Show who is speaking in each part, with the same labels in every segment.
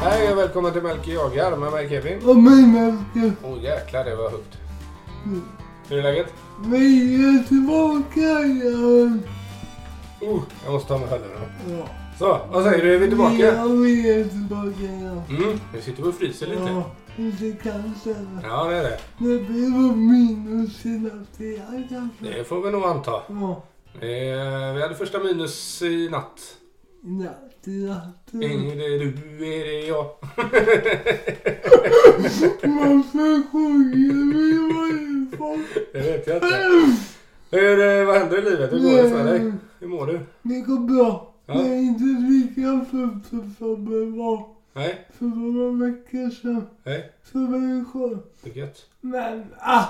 Speaker 1: Hej och välkomna till Melker jagar med mig Kevin.
Speaker 2: Och mig Melker.
Speaker 1: Åh jäklar det var högt.
Speaker 2: Mm.
Speaker 1: Hur är läget?
Speaker 2: Vi är tillbaka igen.
Speaker 1: Oh, jag måste ta med hörlurarna.
Speaker 2: Ja.
Speaker 1: Så, vad säger du? Är vi tillbaka?
Speaker 2: Ja, vi är tillbaka igen.
Speaker 1: Mm, vi sitter och fryser lite.
Speaker 2: Ja, lite kanske.
Speaker 1: Ja, det är det.
Speaker 2: Det blir nog minus i natt kanske.
Speaker 1: Det får vi nog anta.
Speaker 2: Ja,
Speaker 1: Eh, Vi hade första minus i natt.
Speaker 2: i natt, i natt.
Speaker 1: Är det du? Är det jag?
Speaker 2: Varför sjunger vi varje folk?
Speaker 1: Det vet jag inte. Hur, eh, vad händer i livet? Hur går det för
Speaker 2: Mm.
Speaker 1: dig? Hur mår du?
Speaker 2: Det går bra.
Speaker 1: Ja.
Speaker 2: Jag är inte lika full som jag var
Speaker 1: Nej?
Speaker 2: för några veckor sedan.
Speaker 1: Nej?
Speaker 2: Så det är skönt.
Speaker 1: Det är gött.
Speaker 2: Men ah!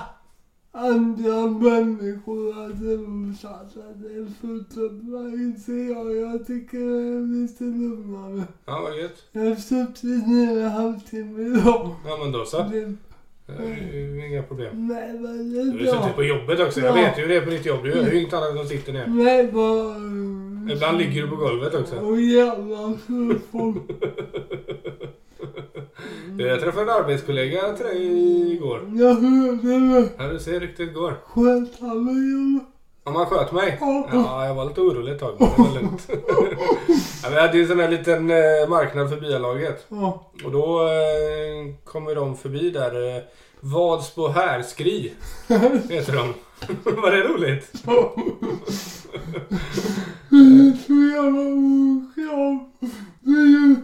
Speaker 2: Andra människor hade orsakat en sjukdom, inte jag. Jag tycker det är lite lugnare.
Speaker 1: Ja, vad gött.
Speaker 2: Jag har suttit ner en halvtimme idag.
Speaker 1: Ja, men då så.
Speaker 2: Det-
Speaker 1: Eh, Inga problem.
Speaker 2: Nej, men det
Speaker 1: Du
Speaker 2: är
Speaker 1: sitter
Speaker 2: bra.
Speaker 1: på jobbet också. Jag
Speaker 2: Ja. Mm.
Speaker 1: vet ju hur det är på ditt jobb. Du gör ju inget annat än att sitta ner.
Speaker 2: Nej, bara...
Speaker 1: Ibland ligger du på golvet också.
Speaker 2: Och jävla sjukdom.
Speaker 1: Eh, Jag träffade en arbetskollega till dig igår.
Speaker 2: Jag hörde det.
Speaker 1: Ja, du ser hur ryktet går.
Speaker 2: Sköt han mig?
Speaker 1: Om han sköt mig?
Speaker 2: Ja.
Speaker 1: Ja, jag var lite orolig ett tag. Men det var lugnt. ja, vi hade ju en sån här liten eh, marknad för byalaget.
Speaker 2: Ja.
Speaker 1: Och då eh, kommer de förbi där. Eh, Vadsbo härskri heter de. Var det roligt?
Speaker 2: Det är så jävla okram. Det är ju...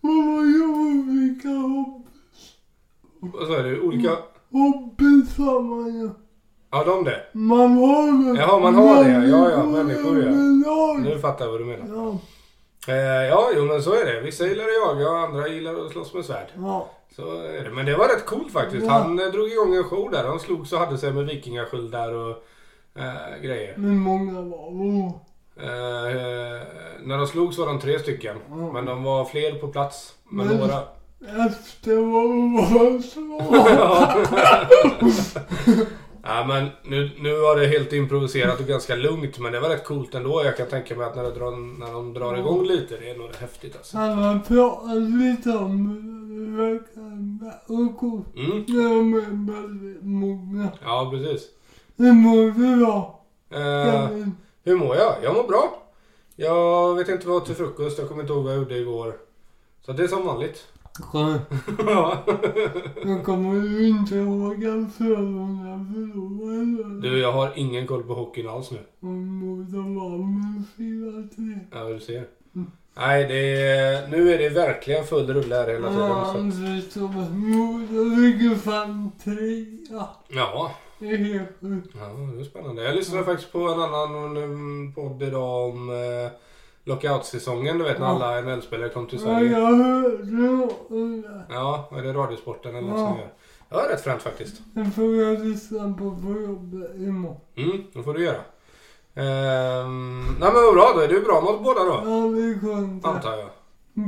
Speaker 2: Vad var jag olika hopp?
Speaker 1: Vad sa du? Olika...
Speaker 2: Hoppet har man ju.
Speaker 1: Ja, de det.
Speaker 2: Man har det.
Speaker 1: Jaha, man har det, ja. Ja, ja, människor, ja.
Speaker 2: överlag.
Speaker 1: Nu fattar jag vad du menar.
Speaker 2: Ja.
Speaker 1: Eh, ja, jo men så är det. Vissa gillar att jaga och andra gillar att slåss med svärd.
Speaker 2: Ja.
Speaker 1: Så är det. Men det var rätt coolt faktiskt.
Speaker 2: Ja.
Speaker 1: Han eh, drog igång en show där. Han slogs och hade sig med vikingasköldar och eh, grejer.
Speaker 2: Men många var bra.
Speaker 1: Eh, eh, när de slogs var de tre stycken.
Speaker 2: Mm.
Speaker 1: Men de var fler på plats. Men
Speaker 2: Men-
Speaker 1: några...
Speaker 2: Efter vad som
Speaker 1: Ja. ja, men nu, nu var det helt improviserat och ganska lugnt. Men det var rätt coolt ändå. Jag kan tänka mig att när, det drar, när de drar igång lite, det är nog rätt häftigt alltså.
Speaker 2: Han har pratat lite om veckan och kom.
Speaker 1: Mm.
Speaker 2: Det var väldigt många.
Speaker 1: Ja, precis.
Speaker 2: Hur mår du då?
Speaker 1: Eh, Hur mår jag? Jag mår bra. Jag vet inte vad jag åt till frukost. Jag kommer inte ihåg vad jag gjorde igår. Så det är som vanligt.
Speaker 2: Skönt.
Speaker 1: Ja.
Speaker 2: Jag kommer ju inte ihåg att Frölunda förlorade.
Speaker 1: du, jag har ingen koll på hockeyn alls nu.
Speaker 2: Och Modo vann med 4-3.
Speaker 1: Ja, du ser.
Speaker 2: Mm.
Speaker 1: Nej, det är, nu är det verkligen full rulle här hela
Speaker 2: Ja,
Speaker 1: tiden. Så.
Speaker 2: han förstår. Modo ligger fan trea
Speaker 1: Ja,
Speaker 2: i Eksjö.
Speaker 1: ja, det är spännande. Jag lyssnade faktiskt på en annan mm, podd idag om eh, lockout-säsongen. Du vet när
Speaker 2: Ja.
Speaker 1: alla NHL-spelare kom till
Speaker 2: Ja,
Speaker 1: Sverige.
Speaker 2: jag hörde något om det.
Speaker 1: Ja, är det Radiosporten eller något
Speaker 2: Ja.
Speaker 1: som gör? Ja, det är rätt fränt faktiskt.
Speaker 2: Den får jag lyssna på på jobbet imorgon.
Speaker 1: Mm, det får du göra. Ehm, nej men vad bra, då är du bra mot båda då.
Speaker 2: Ja, det är skönt.
Speaker 1: Antar jag.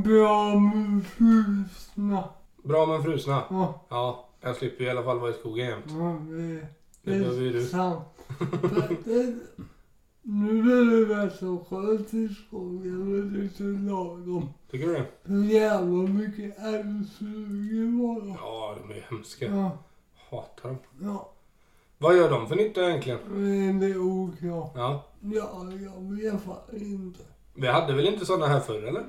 Speaker 2: Bra med frusna.
Speaker 1: Bra men frusna.
Speaker 2: Ja,
Speaker 1: Ja, jag slipper i alla fall vara i skogen jämt.
Speaker 2: ja, det
Speaker 1: Det behöver ju
Speaker 2: är
Speaker 1: du.
Speaker 2: sant. Det- Nu blir det väl så skönt i skogen, men det är så lagom.
Speaker 1: Tycker du det?
Speaker 2: Hur jävla mycket älgflugor var det?
Speaker 1: Ja, de är hemska.
Speaker 2: Ja,
Speaker 1: Hatar dem.
Speaker 2: ja,
Speaker 1: Vad gör de för nytta egentligen?
Speaker 2: men det är oklart.
Speaker 1: Ja.
Speaker 2: Ja, jag vet fan inte.
Speaker 1: Vi hade väl inte sådana här förr eller?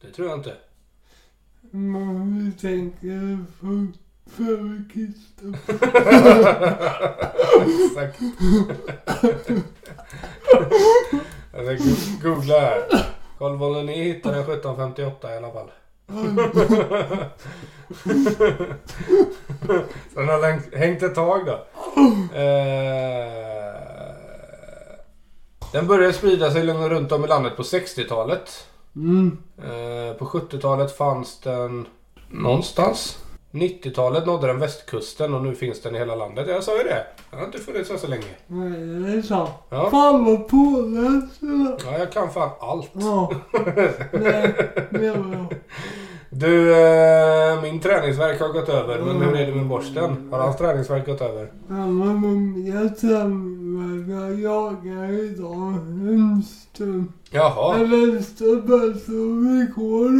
Speaker 1: Det tror jag inte.
Speaker 2: Men vi tänker för, för kristen.
Speaker 1: Exakt. jag ska go- googla här. Carl Wolleny hittade den 1758 i alla fall. Så den hade hängt- hängt ett tag då. Eh, Den började sprida sig lugnt runt om i landet på 60-talet.
Speaker 2: Mm.
Speaker 1: Eh, På 70-talet fanns den någonstans. 90-talet nådde den västkusten och nu finns den i hela landet. Jag sa ju det. Den har inte funnits så, så länge.
Speaker 2: Nej, det är sant.
Speaker 1: Ja.
Speaker 2: Fan vad påläst du är.
Speaker 1: ja, jag kan fan allt.
Speaker 2: Ja, nej, det var jag.
Speaker 1: Du, eh, min träningsverk har gått över. Men hur är det med borsten? Har hans träningsverk gått över?
Speaker 2: Mamma, men jag tränar, jag jagar idag hemstum.
Speaker 1: Jaha.
Speaker 2: Eller stubben som vi går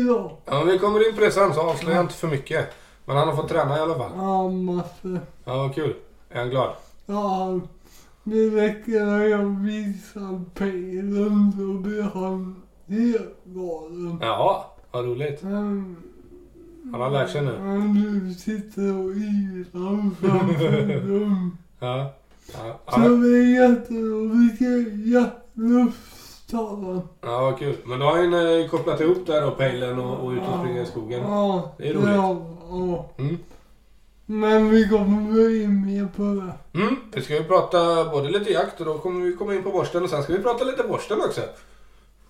Speaker 2: idag.
Speaker 1: Ja, men vi kommer in på det sen så avslöja inte för mycket. Men han har fått träna i alla fall.
Speaker 2: Ja, massor.
Speaker 1: Ja, vad kul. Är han glad?
Speaker 2: Ja, det räcker när jag visar pejlen så blir han helt galen.
Speaker 1: Jaha, vad roligt.
Speaker 2: Han,
Speaker 1: Han har lärt sig nu.
Speaker 2: han nu sitter och ylar framför dem.
Speaker 1: Ja. Ja, ja.
Speaker 2: Som är jätteroligt. Lufttalaren.
Speaker 1: ja vad kul. Men då har han eh, kopplat ihop där då, pejlen och, och ut och springa i skogen.
Speaker 2: Ja,
Speaker 1: Det är roligt.
Speaker 2: Ja, ja.
Speaker 1: Mm.
Speaker 2: Men vi kommer in mer på det.
Speaker 1: Mm, vi ska ju prata både lite jakt och då kommer vi komma in på borsten och sen ska vi prata lite borsten också.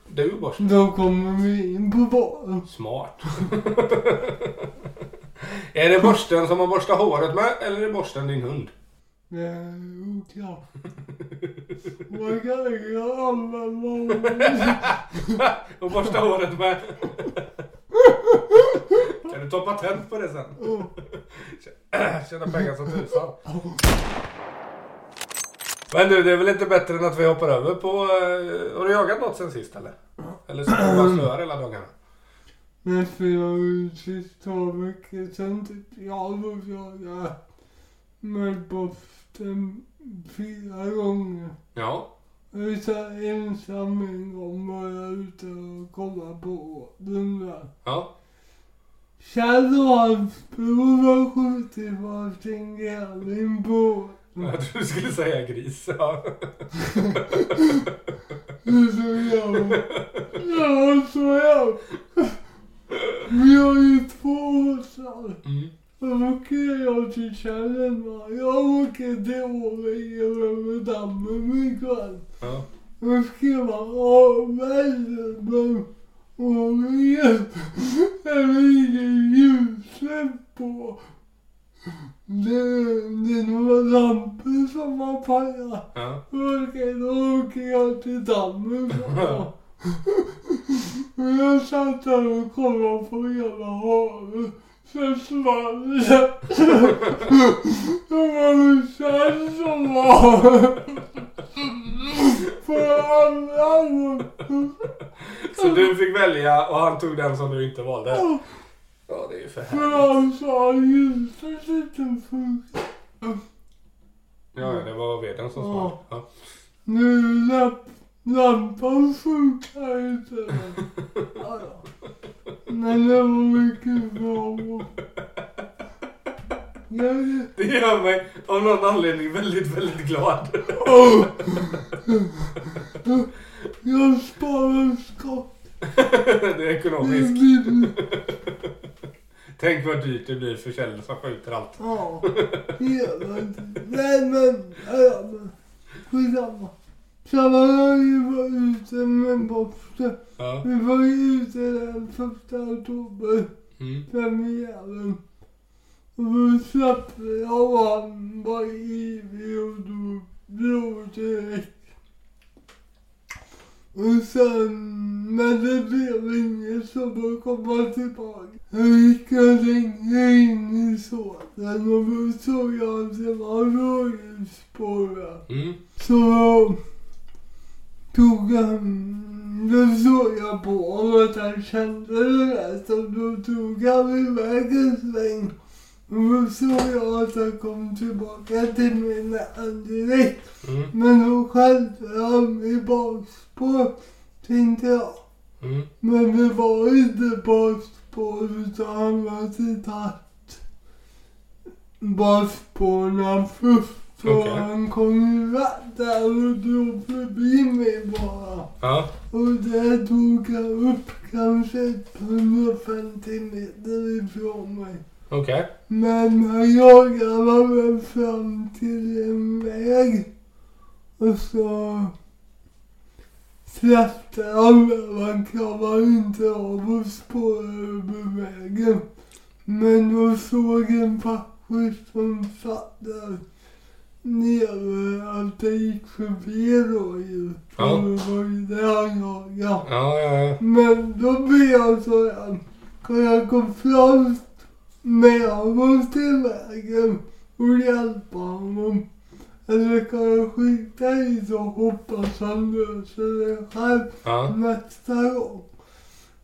Speaker 1: Du borsten.
Speaker 2: Då kommer vi in på baren.
Speaker 1: Smart. är det borsten som man borstar håret med eller är borsten din hund?
Speaker 2: Det är oklart. Man kan inte använda
Speaker 1: Och borsta håret med. kan du ta patent på det sen? Tjäna pengar som tusan. Men du, det är väl inte bättre än att vi hoppar över på... eh, har du jagat något sen sist eller? Eller så du bara snöar hela dagarna?
Speaker 2: Men för jag var sist två veckor sedan typ. Jag och jag med boften fyra gånger.
Speaker 1: Ja.
Speaker 2: Jag satt ensam en gång var jag ute och kollade på den där.
Speaker 1: Ja.
Speaker 2: Kjell Ahlsbro var skjutit var sin gärning på
Speaker 1: Jag trodde du skulle säga gris. Ja.
Speaker 2: Nu så jag. Ja, så jag. Vi har ju två åsar.
Speaker 1: Mm.
Speaker 2: Då åker jag till Källen va. Jag åker till Årvik över dammen ikväll.
Speaker 1: Ja.
Speaker 2: Då ska man avvärja men Årvik är ingen ljussläpp på. Det, det är några lampor som har pajat.
Speaker 1: Ja.
Speaker 2: Okej, då åker jag till dammen. sa jag. Jag satt där och kollade på hela havet. Sen svall jag. Det var en tjej som var på andra hållet.
Speaker 1: Så du fick välja och han tog den som du inte valde. Ja, det är ju för
Speaker 2: För
Speaker 1: härligt.
Speaker 2: han sa ljuset inte funkar.
Speaker 1: Ja, ja, det var veden som svarade. Ja.
Speaker 2: Nu lamp, lampan funkar inte. Ja, ja. Men det var mycket bra. Jag,
Speaker 1: Det gör mig av någon anledning väldigt, väldigt glad.
Speaker 2: jag sparar skott.
Speaker 1: det är
Speaker 2: Det
Speaker 1: ekonomiskt.
Speaker 2: blir...
Speaker 1: Tänk vad dyrt det blir för Kjell som skjuter allt.
Speaker 2: Ja, hela tiden. Nej men, ja, ja, men. Skitsamma. Sen var jag var ute med Boffe.
Speaker 1: Ja.
Speaker 2: Vi var ju ute den första oktober.
Speaker 1: Mm.
Speaker 2: premiären. Och då släppte jag och han var ivrig och drog, drog direkt. Och sen, men det blev inget så då kom han tillbaka. Jag gick och längre in i såsen och då såg jag att det var rådjursspår där.
Speaker 1: Mm.
Speaker 2: Så tog han, då såg jag på honom att han kände det där så då tog han iväg en sväng. Och då såg jag att han kom tillbaka till mig nära direkt.
Speaker 1: Mm.
Speaker 2: Men då skällde han i bakspår, tänkte jag.
Speaker 1: Mm.
Speaker 2: Men det var inte bakspår utan han var tittat bakspåren först. Så
Speaker 1: Okej.
Speaker 2: han kom iväg där och drog förbi mig bara.
Speaker 1: Ja.
Speaker 2: Och det tog han upp kanske 150 meter ifrån mig.
Speaker 1: Okej.
Speaker 2: Men han jagade mig väl fram till en väg. Och så släppte han mig. Man kramade inte av och spårade över vägen. Men då såg en pastor som satt där nere att det gick förbi rådjur. För
Speaker 1: Ja.
Speaker 2: det var ju det han jagade.
Speaker 1: Ja, ja, ja.
Speaker 2: Men då blev jag så här. För jag kom fram med honom till vägen och hjälpa honom. Eller kan jag skita i det och hoppas han löser det själv
Speaker 1: Ja.
Speaker 2: nästa gång.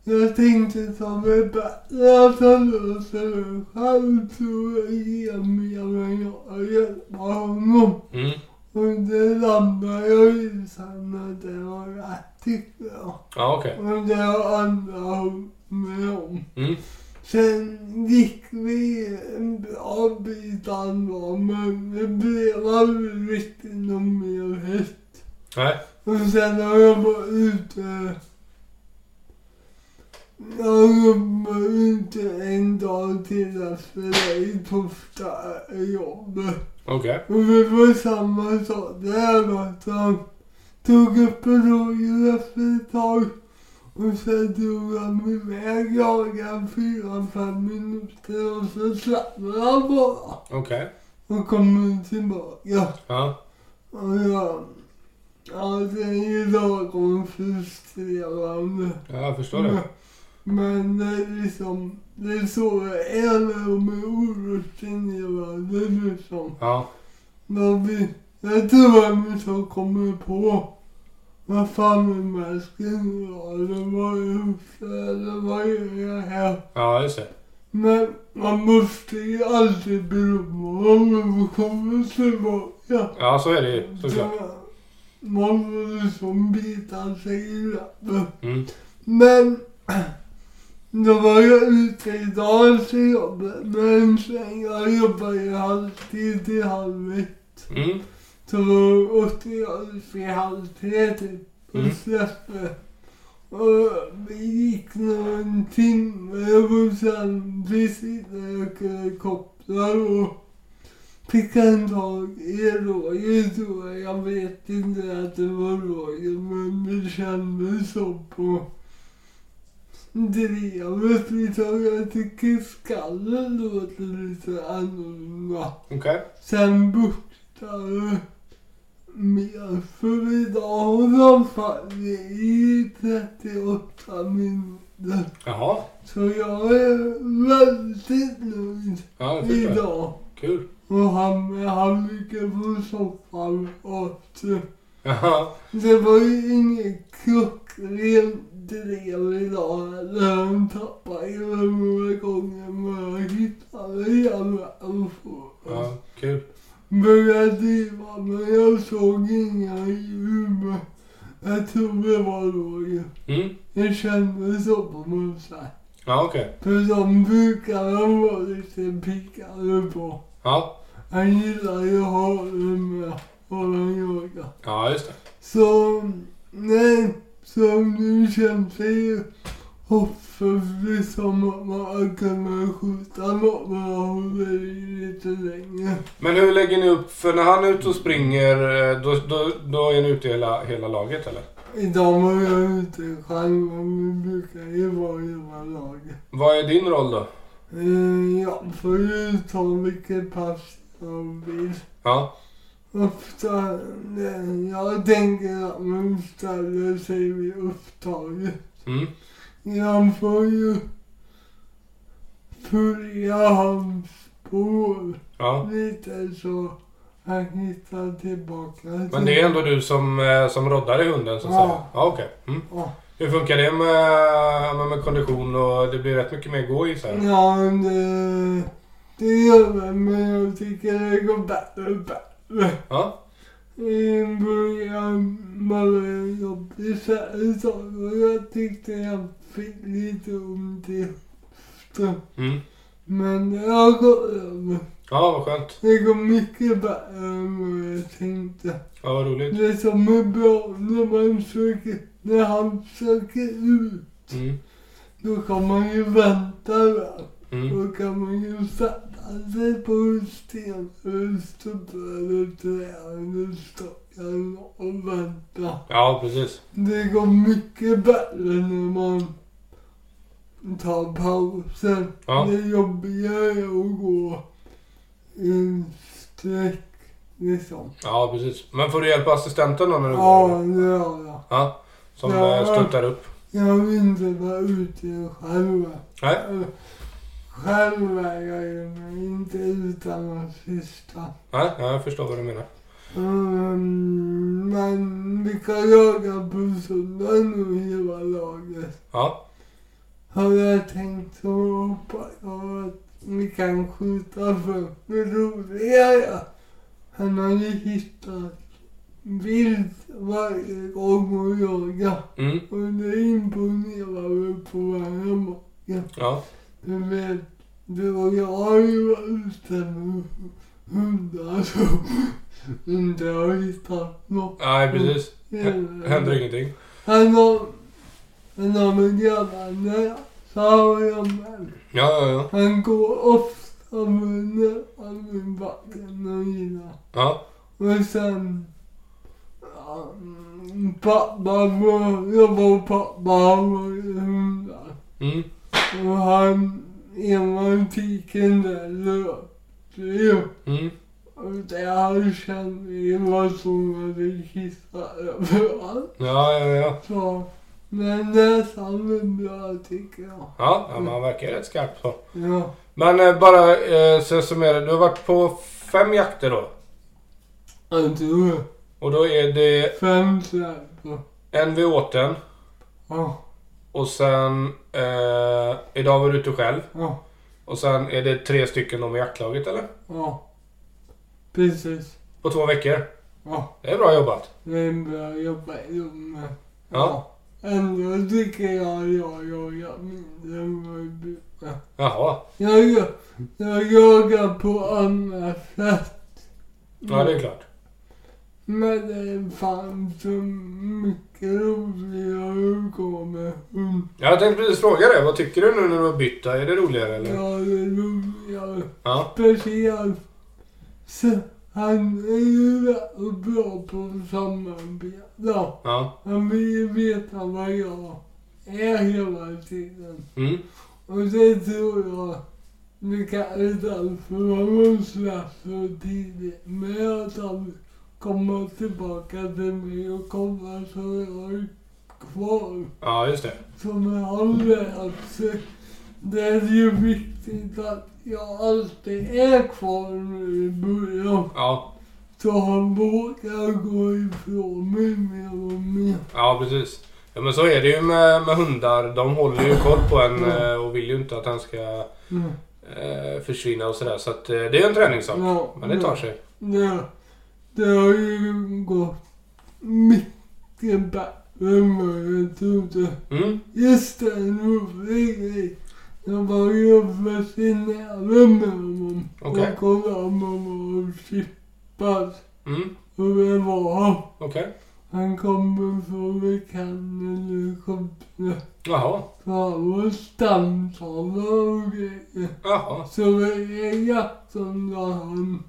Speaker 2: Jag tänkte som är bättre att han löser det själv tror jag ger mer än jag hjälper honom.
Speaker 1: Mm.
Speaker 2: Och det landade jag i sen att det var rätt tyckte jag.
Speaker 1: Ja, okej.
Speaker 2: Och det var andra hållet med om.
Speaker 1: Mm.
Speaker 2: Sen gick vi en bra bit andra men det blev aldrig riktigt någon mer häst.
Speaker 1: Nej.
Speaker 2: Och sen har jag varit ute... Jag har varit ute en dag till efter det i första jobbet.
Speaker 1: Okej.
Speaker 2: Och det var samma sak där att han tog upp en rådjur efter ett tag. Och sen drog han iväg jagade fyra, fem minuter och så slappnade han bara.
Speaker 1: Okej.
Speaker 2: Och kom tillbaka.
Speaker 1: Ja.
Speaker 2: Och jag... Ja, det är ju lagom frustrerande.
Speaker 1: Ja, jag förstår det.
Speaker 2: Men det är liksom... Det är så det är när de är orutinerade liksom.
Speaker 1: Ja.
Speaker 2: Men vi, jag tror att vi som kommer på vad fan är masken eller vad är eller vad gör jag här?
Speaker 1: Ja, just det.
Speaker 2: Men man måste ju alltid bry sig om vi kommer tillbaka.
Speaker 1: Ja, så är det ju. Såklart.
Speaker 2: Man får liksom bita sig i läppen.
Speaker 1: Mm.
Speaker 2: Men då var jag ute idag till jobbet men sen jag jobbar ju halvtid till halv ett.
Speaker 1: Mm.
Speaker 2: Så åkte jag ut vid halv tre typ
Speaker 1: Mm.
Speaker 2: och släppte. Och det gick nog en timme och sen precis när jag kunde koppla då fick han tag i rådjur tror jag. Jag vet inte att det var rådjur men det kändes så på drevet liksom. Jag tycker skallen låter lite annorlunda.
Speaker 1: Okej.
Speaker 2: Sen buktade mer för idag har de fallit i 38 minuter.
Speaker 1: Jaha.
Speaker 2: Så jag är väldigt nöjd
Speaker 1: Ja, jag förstår. det.
Speaker 2: idag.
Speaker 1: Kul.
Speaker 2: Och han, han ligger på soffan och typ.
Speaker 1: Jaha.
Speaker 2: Det var ju inget klockrent drev idag heller. Han tappade ju några gånger men jag hittade i alla fall.
Speaker 1: Ja, kul.
Speaker 2: Började driva men jag såg inga djur. Jag tror det var rådjur.
Speaker 1: Mm.
Speaker 2: Jag kände så på musar.
Speaker 1: Ja, okej.
Speaker 2: För de brukar de vara lite pickade på.
Speaker 1: Ja.
Speaker 2: Han gillar ju haren med. Och han jagar.
Speaker 1: Ja, just det.
Speaker 2: Så, nej. Så nu känns det ju hoppfullt som att man kan skjuta något men jag håller i lite längre.
Speaker 1: Men hur lägger ni upp? För när han är ute och springer, eh, då, då, då är ni ute hela, hela laget eller?
Speaker 2: Idag var jag ute själv men vi brukar ju vara i våra lag.
Speaker 1: Vad är din roll då?
Speaker 2: Eh, Jag får ju ta vilket pass jag vill.
Speaker 1: Ja.
Speaker 2: Ofta, eh, jag tänker att man ställer sig vid upptaget.
Speaker 1: Mm.
Speaker 2: Jag får ju följa hans spår
Speaker 1: Ja.
Speaker 2: lite så han hittar tillbaka.
Speaker 1: Men det är ändå du som, eh, som roddar i hunden så att
Speaker 2: Ja.
Speaker 1: säga? Ja, okej. Mm.
Speaker 2: Ja.
Speaker 1: Hur funkar det med, med, med kondition och det blir rätt mycket mer gå i så här?
Speaker 2: Ja, men det, det gör det, men jag tycker det går bättre och bättre.
Speaker 1: Ja.
Speaker 2: I början var det jobbigt så här ett tag och jag tyckte jag fick lite ont i höften.
Speaker 1: Mm.
Speaker 2: Men det har gått över.
Speaker 1: Ja, vad skönt.
Speaker 2: Det går mycket bättre än vad jag tänkte.
Speaker 1: Ja, vad roligt.
Speaker 2: Det som är bra när man söker, när han söker ut,
Speaker 1: Mm.
Speaker 2: då kan man ju vänta där.
Speaker 1: Mm.
Speaker 2: Då kan man ju sätta sig på en sten eller stubbe eller träd eller stockar och vänta.
Speaker 1: Ja, precis.
Speaker 2: Det går mycket bättre när man tar pauser.
Speaker 1: Ja.
Speaker 2: Det jobbiga är att gå i en sträck liksom.
Speaker 1: Ja, precis. Men får du hjälp av assistenten då när du går?
Speaker 2: Ja,
Speaker 1: eller?
Speaker 2: det gör jag.
Speaker 1: Ja. Som
Speaker 2: Ja.
Speaker 1: ja. stöttar upp?
Speaker 2: Jag vill inte vara ute själva.
Speaker 1: Nej.
Speaker 2: Eller, Själva är jag ju, men inte utan att syssla.
Speaker 1: Nej, ja, jag förstår vad du menar.
Speaker 2: Mm, men vi kan jaga på söndagen och hela laget.
Speaker 1: Ja.
Speaker 2: Har jag tänkt så hoppas jag att vi kan skjuta för det roligare än att vi hittar vilt varje gång och jagar.
Speaker 1: Mm.
Speaker 2: Och det imponerar vi på varandra.
Speaker 1: Ja.
Speaker 2: Du vet, du och jag har ju varit ute med hundar som inte har hittat något.
Speaker 1: Nej, precis.
Speaker 2: Eh, Mm.
Speaker 1: Händer ingenting.
Speaker 2: Men om, men om en granne så har jag med.
Speaker 1: Ja, ja, ja.
Speaker 2: Han går ofta med näven i backen och gillar.
Speaker 1: Ja.
Speaker 2: Och sen... ja, mm, Pappa, var- jag var pappa, han var ju hundar.
Speaker 1: Mm.
Speaker 2: Och han, ena tiken där löpte ju.
Speaker 1: Mm.
Speaker 2: Och där kände jag var som att det kissade överallt.
Speaker 1: Ja, ja, ja.
Speaker 2: Så, men näsan är bra tycker jag.
Speaker 1: Ja, ja man verkar rätt skarp så.
Speaker 2: Ja.
Speaker 1: Men eh, bara eh, så jag summerar. Du har varit på fem jakter då.
Speaker 2: Jag tror
Speaker 1: Och då är det
Speaker 2: fem släpor.
Speaker 1: en vid åten
Speaker 2: Ja,
Speaker 1: och sen... Eh, idag var du ute själv.
Speaker 2: ja,
Speaker 1: Och sen är det tre stycken då med jaktlaget eller?
Speaker 2: ja. Precis.
Speaker 1: På två veckor.
Speaker 2: Ja.
Speaker 1: Det är bra jobbat.
Speaker 2: Det är bra jobbat Jomme.
Speaker 1: Ja.
Speaker 2: Ändå tycker jag att jag jagar mindre än vad jag brukar.
Speaker 1: Jaha.
Speaker 2: Jag, jag, jag jagar på andra sätt.
Speaker 1: Ja, det är klart.
Speaker 2: Men det fanns så mycket roligare att gå med hund.
Speaker 1: Jag tänkte precis fråga dig. Vad tycker du nu när du har bytt? Är det roligare eller? Ja.
Speaker 2: Ja, det är roligare.
Speaker 1: Ja.
Speaker 2: Speciellt. Så han är ju väldigt bra på att samarbeta.
Speaker 1: Ja.
Speaker 2: Han vill ju veta vad jag är hela tiden.
Speaker 1: Mm.
Speaker 2: Och det tror jag, det kanske är därför man släppt så tidigt. Men att han kommer tillbaka till mig och kommer så jag är kvar.
Speaker 1: Ja, just det.
Speaker 2: Som jag har lärt sig. Det är ju viktigt att jag alltid är kvar nu i början.
Speaker 1: Ja.
Speaker 2: Så han vågar gå ifrån mig mer och mer.
Speaker 1: Ja, precis. Ja, men så är det ju med, med hundar. De håller ju koll på en eh, och vill ju inte att han ska
Speaker 2: Mm.
Speaker 1: eh, försvinna och sådär. Så att, eh, det är en träningssak.
Speaker 2: Ja,
Speaker 1: Men det tar sig.
Speaker 2: Det, det har ju gått mycket bättre än vad jag trodde.
Speaker 1: Mm.
Speaker 2: Just det, en rolig grej. Jag var ju veterinären med honom
Speaker 1: Okej.
Speaker 2: och kollade om han var chippad.
Speaker 1: Mm.
Speaker 2: Och det var han.
Speaker 1: Okej.
Speaker 2: Han kom från Kanada och Skopje.
Speaker 1: Jaha.
Speaker 2: Så han var stamtavla och grejer.
Speaker 1: Jaha.
Speaker 2: Så det är jakten där han,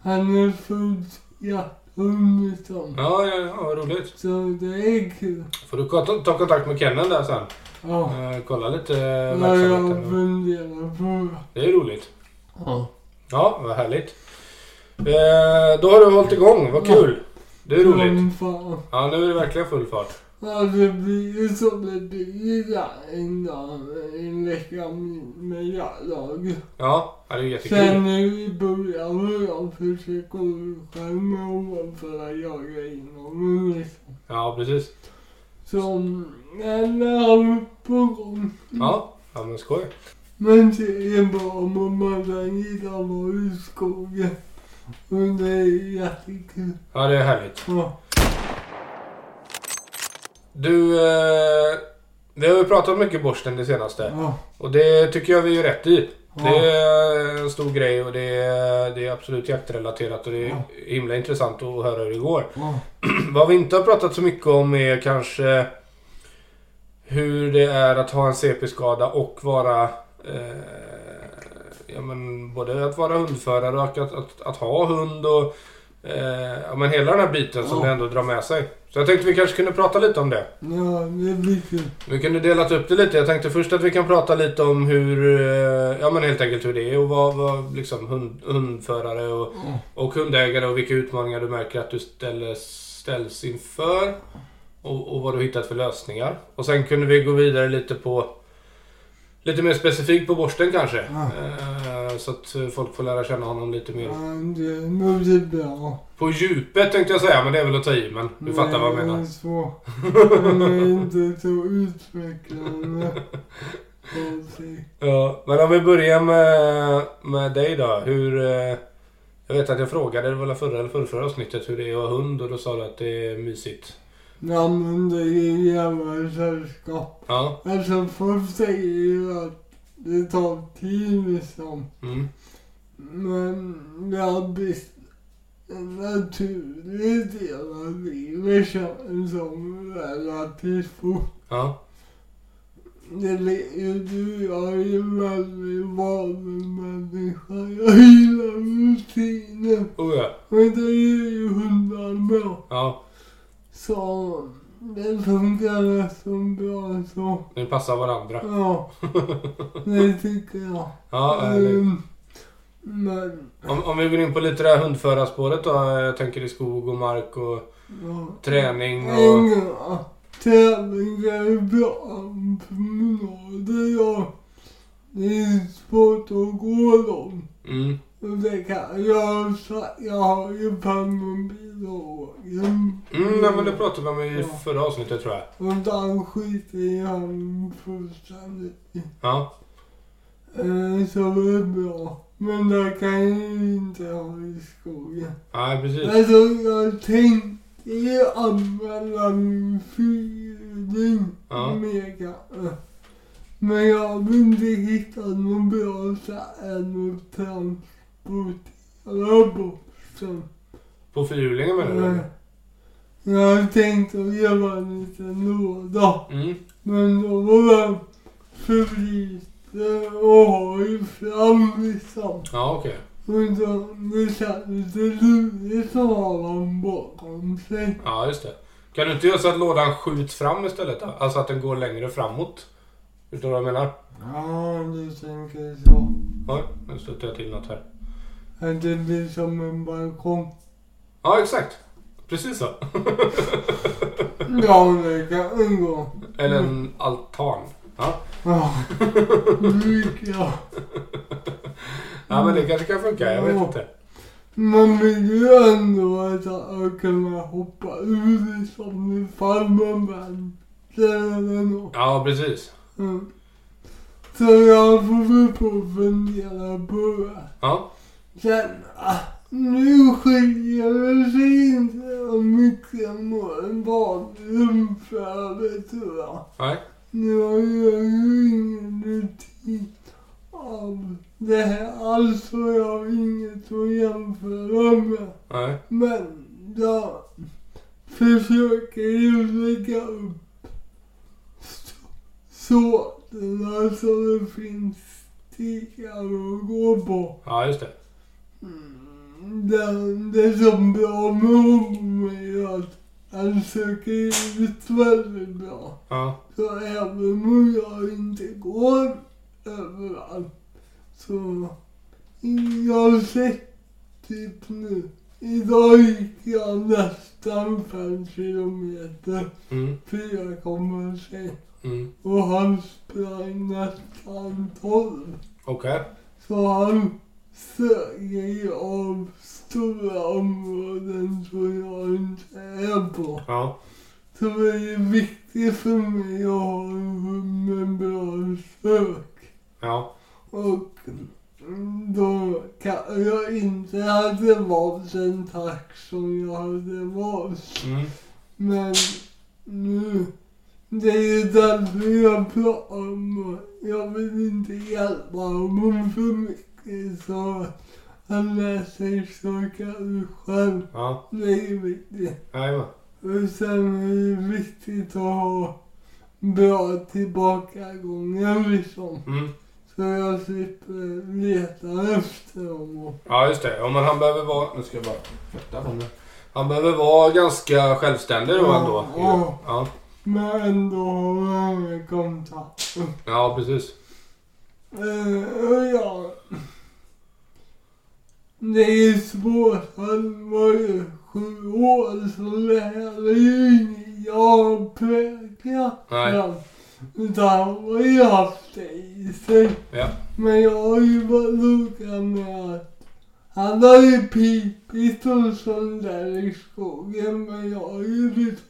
Speaker 2: han är fullt jakthund liksom.
Speaker 1: Ja, ja, ja, vad roligt.
Speaker 2: Så det är kul.
Speaker 1: Får du ta ta kontakt med Kennen där sen.
Speaker 2: Ja.
Speaker 1: Eh, kolla lite eh,
Speaker 2: Vad jag
Speaker 1: verksamheten.
Speaker 2: funderar på.
Speaker 1: Det är roligt.
Speaker 2: Ja.
Speaker 1: Ja, vad härligt. Eh, då har du hållit igång. Vad kul. Det är roligt.
Speaker 2: Som fan.
Speaker 1: Ja, nu är det verkligen full fart.
Speaker 2: Ja, det blir ju som det blir där en dag, en vecka med- med jaktlag.
Speaker 1: Ja, ja det är jättekul.
Speaker 2: Sen nu i början har jag försökt gå ut själv med honom för att jaga inom liksom.
Speaker 1: Ja, precis.
Speaker 2: Som en halv på gång.
Speaker 1: Ja, ja men skoj.
Speaker 2: Men det är bara om man kan gilla att vara i skogen. Och det är jättekul.
Speaker 1: Ja, det är härligt.
Speaker 2: Ja.
Speaker 1: Du, eh, vi har ju pratat mycket borsten det senaste.
Speaker 2: Ja.
Speaker 1: Och det tycker jag vi är rätt i.
Speaker 2: Ja.
Speaker 1: Det är en stor grej och det är, det är absolut jaktrelaterat och det är himla intressant att höra hur det går.
Speaker 2: Ja.
Speaker 1: Vad vi inte har pratat så mycket om är kanske hur det är att ha en CP-skada och vara... Eh, ja, men både att vara hundförare och att, att, att ha hund och... Eh, ja, men hela den här biten som
Speaker 2: Ja.
Speaker 1: det ändå drar med sig. Så jag tänkte vi kanske kunde prata lite om det.
Speaker 2: ja, det blir kul.
Speaker 1: Vi kunde delat upp det lite. Jag tänkte först att vi kan prata lite om hur... eh, Ja men helt enkelt hur det är och vad, vad liksom hund, hundförare och,
Speaker 2: Ja.
Speaker 1: och hundägare och vilka utmaningar du märker att du ställs, ställs inför. Och, och vad du hittat för lösningar. Och sen kunde vi gå vidare lite på... Lite mer specifikt på borsten kanske.
Speaker 2: Ja.
Speaker 1: Eh, så att eh, folk får lära känna honom lite mer.
Speaker 2: Ja, det mådde bra.
Speaker 1: På djupet tänkte jag säga, men det är väl att ta hein. i. Men du fattar vad jag menar.
Speaker 2: Men så, den är inte så utvecklande. av sig.
Speaker 1: Ja, men om vi börjar med, med dig då. Hur... eh, Jag vet att jag frågade, det var väl förra eller förrförra avsnittet, hur det är att ha hund och då sa du att det är mysigt.
Speaker 2: Ja men det är jävla sällskap.
Speaker 1: Ja.
Speaker 2: Alltså folk säger ju att det tar tid liksom.
Speaker 1: Mm.
Speaker 2: Men det har blivit en naturlig del av livet känns som relativt fort.
Speaker 1: Ja.
Speaker 2: Det ligger du, jag är en väldigt vanlig människa. Jag gillar rutiner.
Speaker 1: Oh, ja.
Speaker 2: Men det är ju hundar bra.
Speaker 1: ja.
Speaker 2: Så det funkar rätt så bra så.
Speaker 1: Ni passar varandra.
Speaker 2: Ja, det tycker jag.
Speaker 1: Ja, eh, det-
Speaker 2: Ehm, men,
Speaker 1: Om, om vi går in på lite det här hundförarspåret då. eh, Jag tänker i skog och mark och
Speaker 2: ja.
Speaker 1: träning
Speaker 2: Mm.
Speaker 1: och...
Speaker 2: Inga tävlingar är bra promenader. Ja. Det är svårt att gå dem.
Speaker 1: Mm.
Speaker 2: Och det kan jag, sa- jag har ju permobil och åker.
Speaker 1: Mm, nej, men det pratade vi om i
Speaker 2: Ja.
Speaker 1: förra avsnittet tror jag.
Speaker 2: Och den skiter jag fullständigt i.
Speaker 1: Ja.
Speaker 2: Eh, Så det är bra. Men det kan jag ju inte ha i skogen.
Speaker 1: Nej, precis.
Speaker 2: Alltså jag tänkte ju använda min fyrhjuling
Speaker 1: Ja.
Speaker 2: mer kanske. Men jag har inte hittat något bra sätt än att transportera borsten.
Speaker 1: På fyrhjulingen menar du?
Speaker 2: Eh, Jag har tänkt att göra en liten låda.
Speaker 1: Mm.
Speaker 2: Men då var den för liten och har ju fram liksom.
Speaker 1: Ja, okej.
Speaker 2: Och då, det kändes lite lurigt att ha den bakom sig.
Speaker 1: Ja, just det. Kan du inte göra så att lådan skjuts fram istället då? Alltså att den går längre framåt? Förstår du vad jag menar?
Speaker 2: Ja, du tänker så.
Speaker 1: Oj, nu stötte jag till något här.
Speaker 2: Att det blir som en balkong.
Speaker 1: Ja, exakt. Precis så.
Speaker 2: Ja, det kan ingå.
Speaker 1: Eller en altan. Ja,
Speaker 2: Ja, brukar jag.
Speaker 1: ja men det kanske kan funka. Jag vet
Speaker 2: Ja.
Speaker 1: inte.
Speaker 2: Man vill ju ändå att jag kan hoppa ur liksom ifall man vänder eller nåt.
Speaker 1: Ja, precis.
Speaker 2: Mm. Så jag får väl på och fundera på det.
Speaker 1: Ja.
Speaker 2: Sen, ah, nu skiljer det sig inte så mycket mot badrum för övrigt tror jag.
Speaker 1: Nej.
Speaker 2: Nu har jag ju ingen rutin av det här alls så jag har inget att jämföra med.
Speaker 1: Nej.
Speaker 2: Men jag försöker ju lägga upp sådana så det finns stigar att gå på.
Speaker 1: Ja, just det.
Speaker 2: Mm, Det, det som är bra med honom är att han söker ut väldigt bra.
Speaker 1: Ja.
Speaker 2: Så även om jag inte går överallt så jag sett typ nu. Idag gick jag nästan fem kilometer
Speaker 1: Mm.
Speaker 2: för jag kommer sent.
Speaker 1: Mm.
Speaker 2: Och han sprang nästan tolv.
Speaker 1: Okej.
Speaker 2: Så han sög ju av stora områden som jag inte är på.
Speaker 1: Ja.
Speaker 2: Så det är viktigt för mig att ha en hund med bra sök.
Speaker 1: Ja.
Speaker 2: Och mm, då kan jag inte hade valt en tax som jag hade valt.
Speaker 1: Mm.
Speaker 2: Men nu, det är ju därför jag pratar om det. Jag vill inte hjälpa honom för mycket så han lär sig söka ut själv.
Speaker 1: Ja.
Speaker 2: Det är ju viktigt.
Speaker 1: Jajamän.
Speaker 2: Och sen är det viktigt att ha bra tillbakagångar liksom.
Speaker 1: Mm.
Speaker 2: Så jag slipper leta efter dem. Och,
Speaker 1: Ja, just det. Ja, men han behöver vara... Nu ska jag bara flytta på mig. Han behöver vara ganska självständig då
Speaker 2: Ja,
Speaker 1: ändå.
Speaker 2: ja.
Speaker 1: Ja.
Speaker 2: men ändå ha en kontakt.
Speaker 1: Ja, precis.
Speaker 2: Eh, och ja. Det är ju svårt. Han var ju sju år så det här är ju inget jag prägla
Speaker 1: Nej.
Speaker 2: den. Utan han har ju haft det i sig.
Speaker 1: Ja.
Speaker 2: Men jag har ju varit noga med att han har ju pipit och sånt där i skogen. Men jag har ju liksom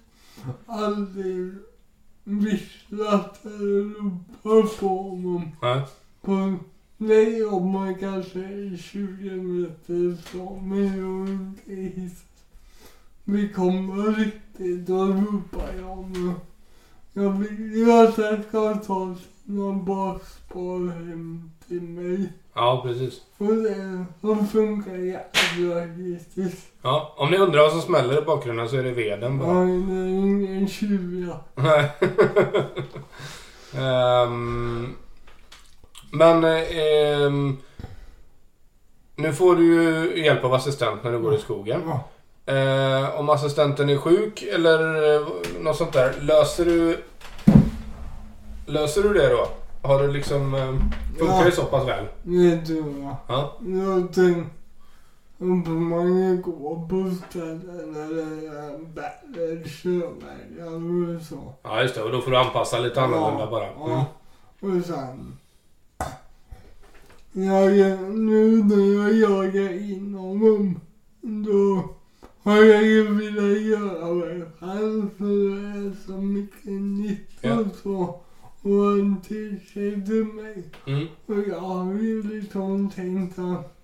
Speaker 2: aldrig visslat eller ropat på honom.
Speaker 1: Nej.
Speaker 2: På, nej, om man kanske är 20 meter från mig och inte hissar. Vi kommer riktigt, då ropar jag nu. Jag vill ju att jag ska ta sina bakspår hem till mig.
Speaker 1: Ja, precis.
Speaker 2: Och det de funkar jävla hittills.
Speaker 1: Ja, om ni undrar vad som smäller i bakgrunden så är det veden bara.
Speaker 2: Nej, det är ingen tjuv
Speaker 1: Nej. Ehm, men ehm, nu får du ju hjälp av assistent när du går i skogen.
Speaker 2: Ja.
Speaker 1: Eh, om assistenten är sjuk eller eh, något sånt där, löser du Löser du det då? Har du liksom... eh, Funkar
Speaker 2: Ja.
Speaker 1: det så pass väl?
Speaker 2: Vet du vad?
Speaker 1: Ja.
Speaker 2: Någonting som man går på ställen eller eh, bättre körvägar och så.
Speaker 1: Ja, just det. Och då får du anpassa lite annorlunda bara. Mm.
Speaker 2: Ja, och sen... Jag, nu när jag jagar inom dem, då har jag ju velat göra mig själv för det är så mycket nytt
Speaker 1: Ja.
Speaker 2: och så. Och han tillskrev mig.
Speaker 1: Mm.
Speaker 2: Och jag har ju liksom tänkt att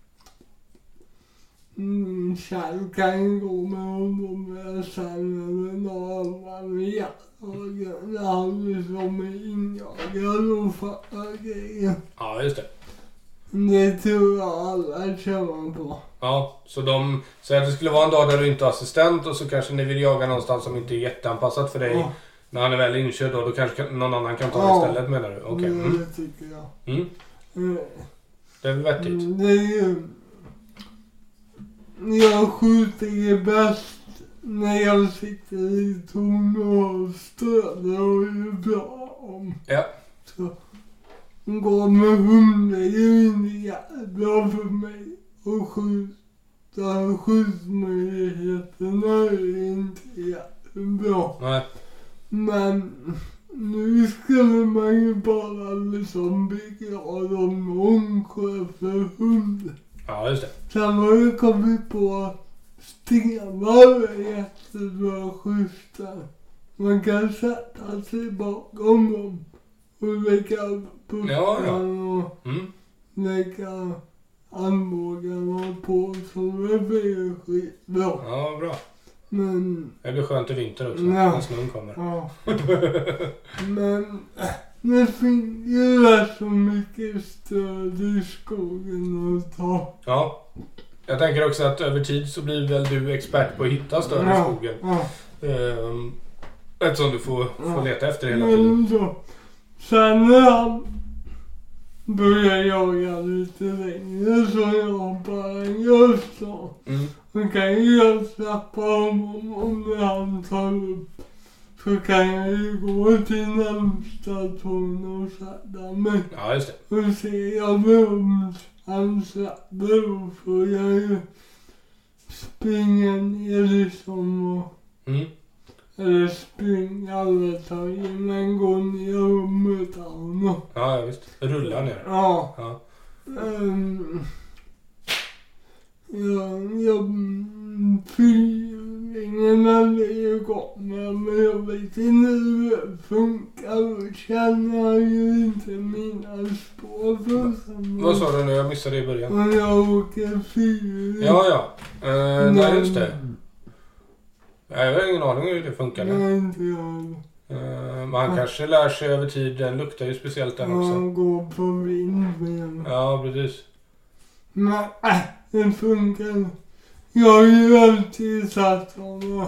Speaker 2: mm, Kjell kan ju gå med honom med sen men andra med jagar. Han liksom är injagad och fattar grejer.
Speaker 1: Ja, just det.
Speaker 2: Det tror jag alla tjänar på.
Speaker 1: Ja, så de... Säg att det skulle vara en dag där du inte har assistent och så kanske ni vill jaga någonstans som inte är jätteanpassat för dig.
Speaker 2: Ja,
Speaker 1: När han är väl inkörd då, då kanske kan- någon annan kan ta
Speaker 2: Ja.
Speaker 1: det istället menar du? Okej. Mm.
Speaker 2: det tycker jag.
Speaker 1: Mm.
Speaker 2: Mm.
Speaker 1: Det är väl vettigt.
Speaker 2: Mm, Det är ju... Jag skjuter ju bäst när jag sitter i torn och stöder och är bra om.
Speaker 1: Ja.
Speaker 2: Så gå med hund är ju inte jättebra för mig. Och skjuta, skjutmöjligheterna är inte jättebra.
Speaker 1: Nej.
Speaker 2: Men nu skulle man ju bara liksom begrava någon för hund.
Speaker 1: Ja, just det.
Speaker 2: Sen har jag kommit på att stenar är jättebra skjutar. Man kan sätta sig bakom dem och lägga
Speaker 1: Ja, ja.
Speaker 2: puckarna och
Speaker 1: Mm.
Speaker 2: lägga armbågarna på så det blir skitbra.
Speaker 1: Ja, bra.
Speaker 2: Men
Speaker 1: Det blir skönt i vinter också.
Speaker 2: Ja.
Speaker 1: När snön kommer.
Speaker 2: Ja. Men äh, det finns ju rätt så mycket stöd i skogen att ta.
Speaker 1: Ja. Jag tänker också att över tid så blir väl du expert på att hitta större i
Speaker 2: Ja,
Speaker 1: skogen.
Speaker 2: Ja.
Speaker 1: Ehm, eftersom du får, får
Speaker 2: Ja. Mm.
Speaker 1: leta efter det hela tiden.
Speaker 2: Men då, sen när han började jaga lite längre så jag bara, just så.
Speaker 1: Mm.
Speaker 2: Då kan ju jag släppa honom om när han tar upp. Så kan jag ju gå till närmsta torn och sätta mig.
Speaker 1: Ja, just det.
Speaker 2: Och ser jag runt hans labbor får jag ju springa ner liksom och,
Speaker 1: Mm.
Speaker 2: eller springa vet jag inte, men gå ner och möta honom.
Speaker 1: Ja, ja, visst. Rulla ner.
Speaker 2: Ja.
Speaker 1: Ja.
Speaker 2: Um, jag, jag Fyrlingarna blir ju galna men jag vet inte hur det funkar. och känner ju inte mina spår för samma.
Speaker 1: Vad sa du nu? Jag missade i början.
Speaker 2: Och jag åker fyrhjuling.
Speaker 1: Ja, ja. Eh, nej, just det. Jag har ingen aning om hur det funkar.
Speaker 2: Nej, inte jag.
Speaker 1: Eh, Men han
Speaker 2: Ja.
Speaker 1: kanske lär sig över tid. Den luktar ju speciellt den också.
Speaker 2: Jag går på vindben.
Speaker 1: Ja, precis.
Speaker 2: Men äh, det funkar. Jag har ju alltid satt honom.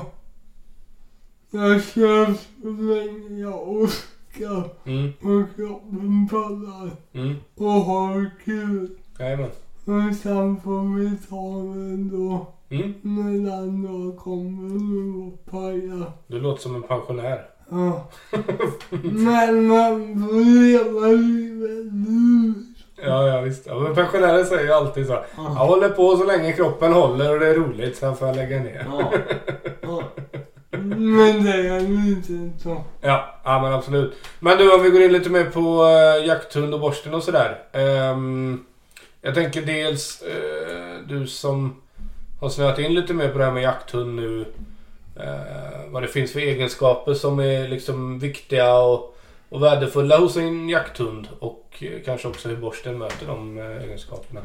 Speaker 2: Jag kör så länge jag orkar
Speaker 1: Mm,
Speaker 2: och kroppen pallar
Speaker 1: mm.
Speaker 2: och har kul.
Speaker 1: Jajamän.
Speaker 2: Och sen får vi ta det då
Speaker 1: Mm.
Speaker 2: när den dag kommer och pajar.
Speaker 1: Du låter som en pensionär.
Speaker 2: Ja. Men man får leva livet nu.
Speaker 1: Ja, ja visst. Ja, men pensionärer säger ju alltid så. här, Jag håller på så länge kroppen håller och det är roligt. Sen får jag lägga ner.
Speaker 2: Ja. Ja. Mm, Men det är ju inte så.
Speaker 1: Ja, ja men absolut. Men du om vi går in lite mer på eh, jakthund och borsten och sådär. Ehm, jag tänker dels eh, du som har snöat in lite mer på det här med jakthund nu. eh, vad det finns för egenskaper som är liksom viktiga och, och värdefulla hos en jakthund. Och eh, kanske också hur borsten möter de eh, egenskaperna.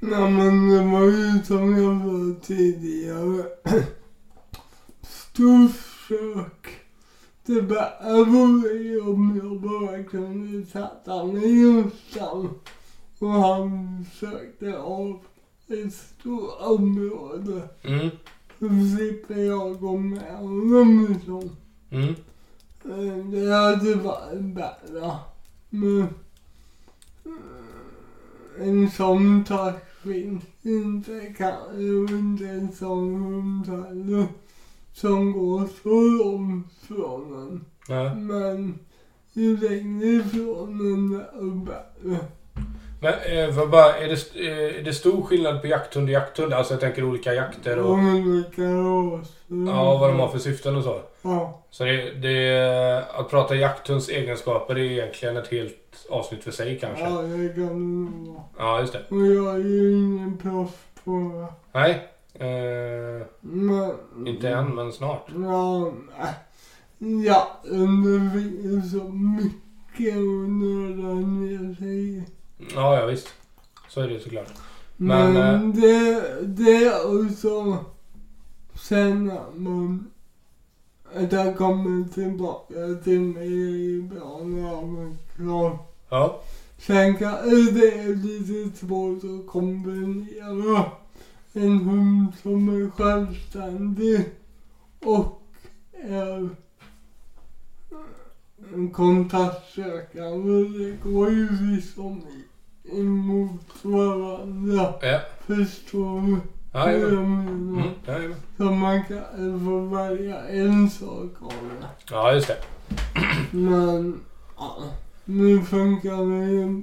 Speaker 2: Ja, men det var ju som jag sa tidigare. Storkök. Det bara vore om jag bara kunde sätta mig utan. Och han försökte av ett stort område.
Speaker 1: Mm,
Speaker 2: Så slipper jag gå med honom liksom.
Speaker 1: mm,
Speaker 2: Eh, Det hade varit bättre. Men eh, en sån tack finns inte kanske inte en sån hund heller. Som går så långt från en.
Speaker 1: ja.
Speaker 2: Men ju längre ifrån en desto bättre.
Speaker 1: Men eh, för bara, är, det, st- eh, är det stor skillnad på jakthund och jakthund? Alltså jag tänker olika jakter och
Speaker 2: Olika raser.
Speaker 1: ja, vad de har för syften och så.
Speaker 2: Ja.
Speaker 1: Så det, det, att prata jakthunds egenskaper är egentligen ett helt avsnitt för sig kanske. Ja,
Speaker 2: Ja, det kan det vara.
Speaker 1: just det.
Speaker 2: Och jag är ju ingen proffs på det.
Speaker 1: Nej. Eh,
Speaker 2: Men...
Speaker 1: inte än, men snart.
Speaker 2: Ja, nej. ja det finns så mycket att nörda ner sig i.
Speaker 1: Ja, ja visst. Så är det ju såklart. Men, äh,
Speaker 2: Men, det, det är också sen att man att det kommer tillbaka till mig i bra namnklar.
Speaker 1: Ja.
Speaker 2: Sen kanske det är lite svårt att kombinera en hund som är självständig och är en kontaktsökande. Det går ju liksom emot varandra.
Speaker 1: Ja.
Speaker 2: Förstår du
Speaker 1: Ja,
Speaker 2: hur
Speaker 1: jajamän.
Speaker 2: jag menar?
Speaker 1: mm, ja, jajamän.
Speaker 2: Så man kan få välja en sak av det.
Speaker 1: ja, just det.
Speaker 2: Men ja, nu funkar det ju.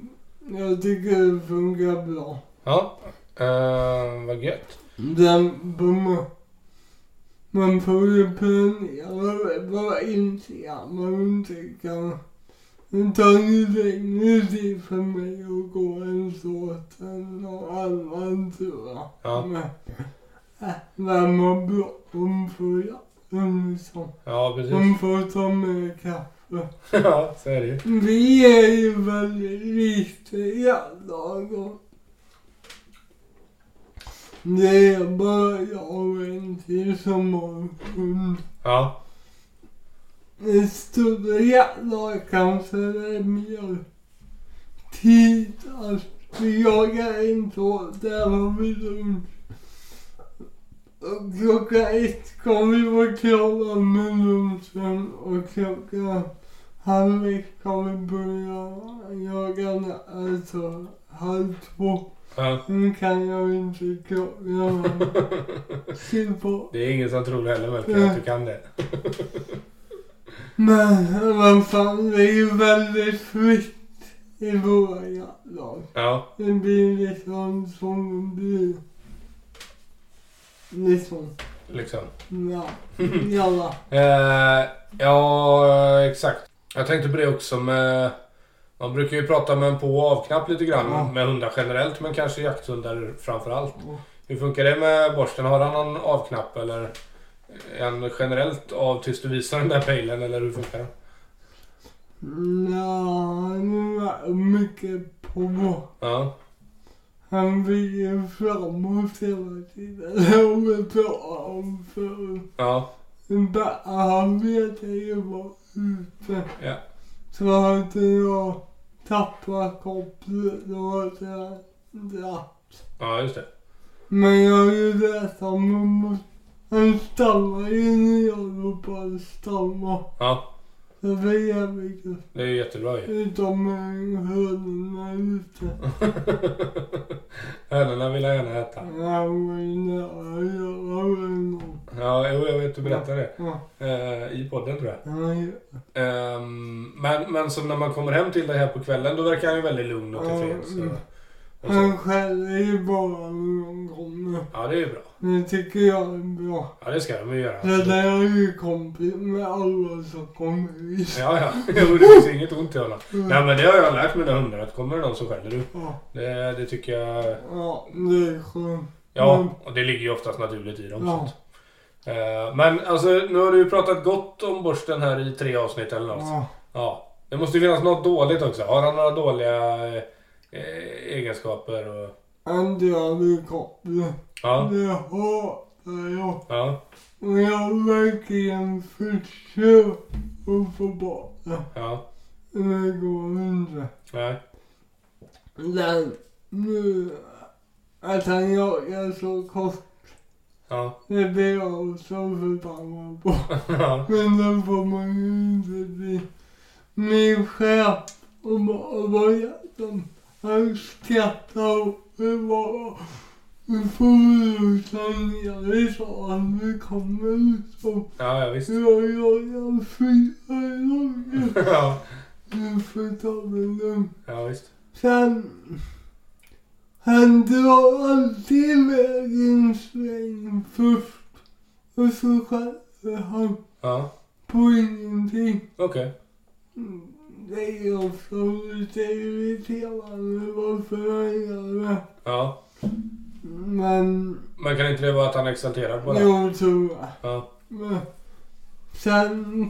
Speaker 2: Jag tycker det funkar bra.
Speaker 1: Ja. Eh, vad gött.
Speaker 2: Den bumma. Man får ju planera bara inse att man inte kan. Det tar ju längre tid för mig att gå en såt än någon annan tror jag.
Speaker 1: Ja.
Speaker 2: Men, äh, vem har bråttom får jakten liksom.
Speaker 1: Ja, precis.
Speaker 2: De får ta med kaffe.
Speaker 1: ja, så är det ju.
Speaker 2: Vi är ju väldigt lite jaktlag och det är bara jag och en till som har hund.
Speaker 1: Ja.
Speaker 2: Ett större jaktlag kanske det är mer tid att jaga in på. Där har vi lunch. Och klockan ett kommer vi vara klara med lunchen och klockan halv ett kommer vi börja jaga nä- alltså halv två.
Speaker 1: ja.
Speaker 2: Nu kan jag inte klockan. Skriv på.
Speaker 1: Det är ingen som tror heller verkligen att du kan det.
Speaker 2: Men vad fan, det är ju väldigt fritt i våra jaktlag.
Speaker 1: Ja.
Speaker 2: Det blir liksom som det blir. Liksom,
Speaker 1: Liksom.
Speaker 2: ja. Jalla.
Speaker 1: Eh, ja, exakt. Jag tänkte på det också med... Man brukar ju prata med en på och avknapp lite grann
Speaker 2: Ja.
Speaker 1: med hundar generellt, men kanske jakthundar framför allt. Hur funkar det med borsten? Har han någon avknapp eller en generellt av tills du visar den där pejlen eller hur funkar det?
Speaker 2: Nja, nu är det mycket på.
Speaker 1: Ja,
Speaker 2: Han vill ju framåt hela tiden. Det har vi pratat om förut.
Speaker 1: ja,
Speaker 2: Bara han vet ju vara ute.
Speaker 1: Ja.
Speaker 2: Så har inte jag tappat kopplet och har jag dratt.
Speaker 1: ja just det.
Speaker 2: Men jag har ju lärt honom att han stammar ju när jag ropar stamma.
Speaker 1: Ja,
Speaker 2: Det är jävligt gött.
Speaker 1: det är ju jättebra ju.
Speaker 2: Utom med hönorna ute.
Speaker 1: Hönorna vill jag gärna äta.
Speaker 2: Han var ju nära att göra det.
Speaker 1: Ja, jo, jag vet du berättade det
Speaker 2: Ja,
Speaker 1: eh, i podden tror jag.
Speaker 2: han gör-
Speaker 1: Ehm, men, men som när man kommer hem till dig här på kvällen, då verkar han ju väldigt lugn och
Speaker 2: Ja,
Speaker 1: tillfreds.
Speaker 2: mm.
Speaker 1: och- Och så.
Speaker 2: Han skäller ju bara när de kommer.
Speaker 1: Ja, det är ju bra.
Speaker 2: Det tycker jag är bra.
Speaker 1: Ja, det ska de ju göra.
Speaker 2: Det där är ju kompis med alla som kommer hit.
Speaker 1: Ja, ja. Jo, det finns inget ont i honom. Nej, men det har jag lärt mina hundar. Att kommer det någon så skäller du.
Speaker 2: Ja,
Speaker 1: Det, det tycker jag...
Speaker 2: ja, det är skönt. Mm.
Speaker 1: Ja, och det ligger ju oftast naturligt i dem.
Speaker 2: Ja.
Speaker 1: sånt. Eh, Men alltså, nu har du ju pratat gott om borsten här i tre avsnitt eller något.
Speaker 2: Ja,
Speaker 1: Ja. Det måste ju finnas något dåligt också. Har han några dåliga eh, eh, egenskaper? Och...
Speaker 2: inte jag vill koppla.
Speaker 1: Ja.
Speaker 2: Det hatar jag.
Speaker 1: Ja.
Speaker 2: Och jag verkligen försöker att få bort det.
Speaker 1: Ja.
Speaker 2: Det går inte.
Speaker 1: Nej.
Speaker 2: Den, nu, att han jagar så kort,
Speaker 1: Ja.
Speaker 2: det blir jag så förbannad på.
Speaker 1: Ja.
Speaker 2: Men den får man ju inte bli. Min chef, och bara vad hjärtan, han skrattar och det bara, nu får vi rusa ner i salen, vi kommer liksom.
Speaker 1: Ja, ja visst.
Speaker 2: Jag jagar fyra gånger.
Speaker 1: Ja.
Speaker 2: Nu får jag ta det lugnt.
Speaker 1: Ja, visst.
Speaker 2: Sen... Han drar alltid iväg en sväng först. Och så skäller han
Speaker 1: Ja.
Speaker 2: på ingenting.
Speaker 1: Okej.
Speaker 2: Mm, Det är ju också lite irriterande varför han gör det.
Speaker 1: Ja.
Speaker 2: Men...
Speaker 1: Men kan inte det vara att han är exalterad bara?
Speaker 2: Jo, tror jag.
Speaker 1: Ja.
Speaker 2: Men sen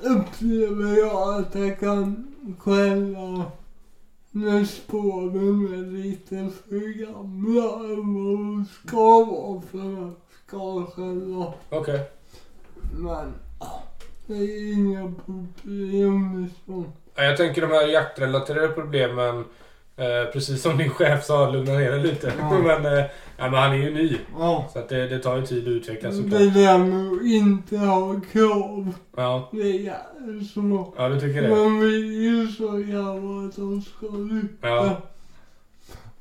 Speaker 2: upplever jag att jag kan skälla när spåren är lite för gamla än vad de ska vara för att ska skälla.
Speaker 1: Okej.
Speaker 2: Men ah, det är inga problem liksom.
Speaker 1: Ja, Jag tänker de här jaktrelaterade problemen, eh, precis som din chef sa, lugna ner dig lite.
Speaker 2: Ja.
Speaker 1: men, eh, ja, men han är ju ny,
Speaker 2: Ja.
Speaker 1: så att det, det tar ju tid att utvecklas såklart.
Speaker 2: Det där med att inte ha krav,
Speaker 1: Ja.
Speaker 2: det är jävligt svårt.
Speaker 1: ja, du tycker det?
Speaker 2: Man vill ju så gärna att de ska lyckas.
Speaker 1: Ja.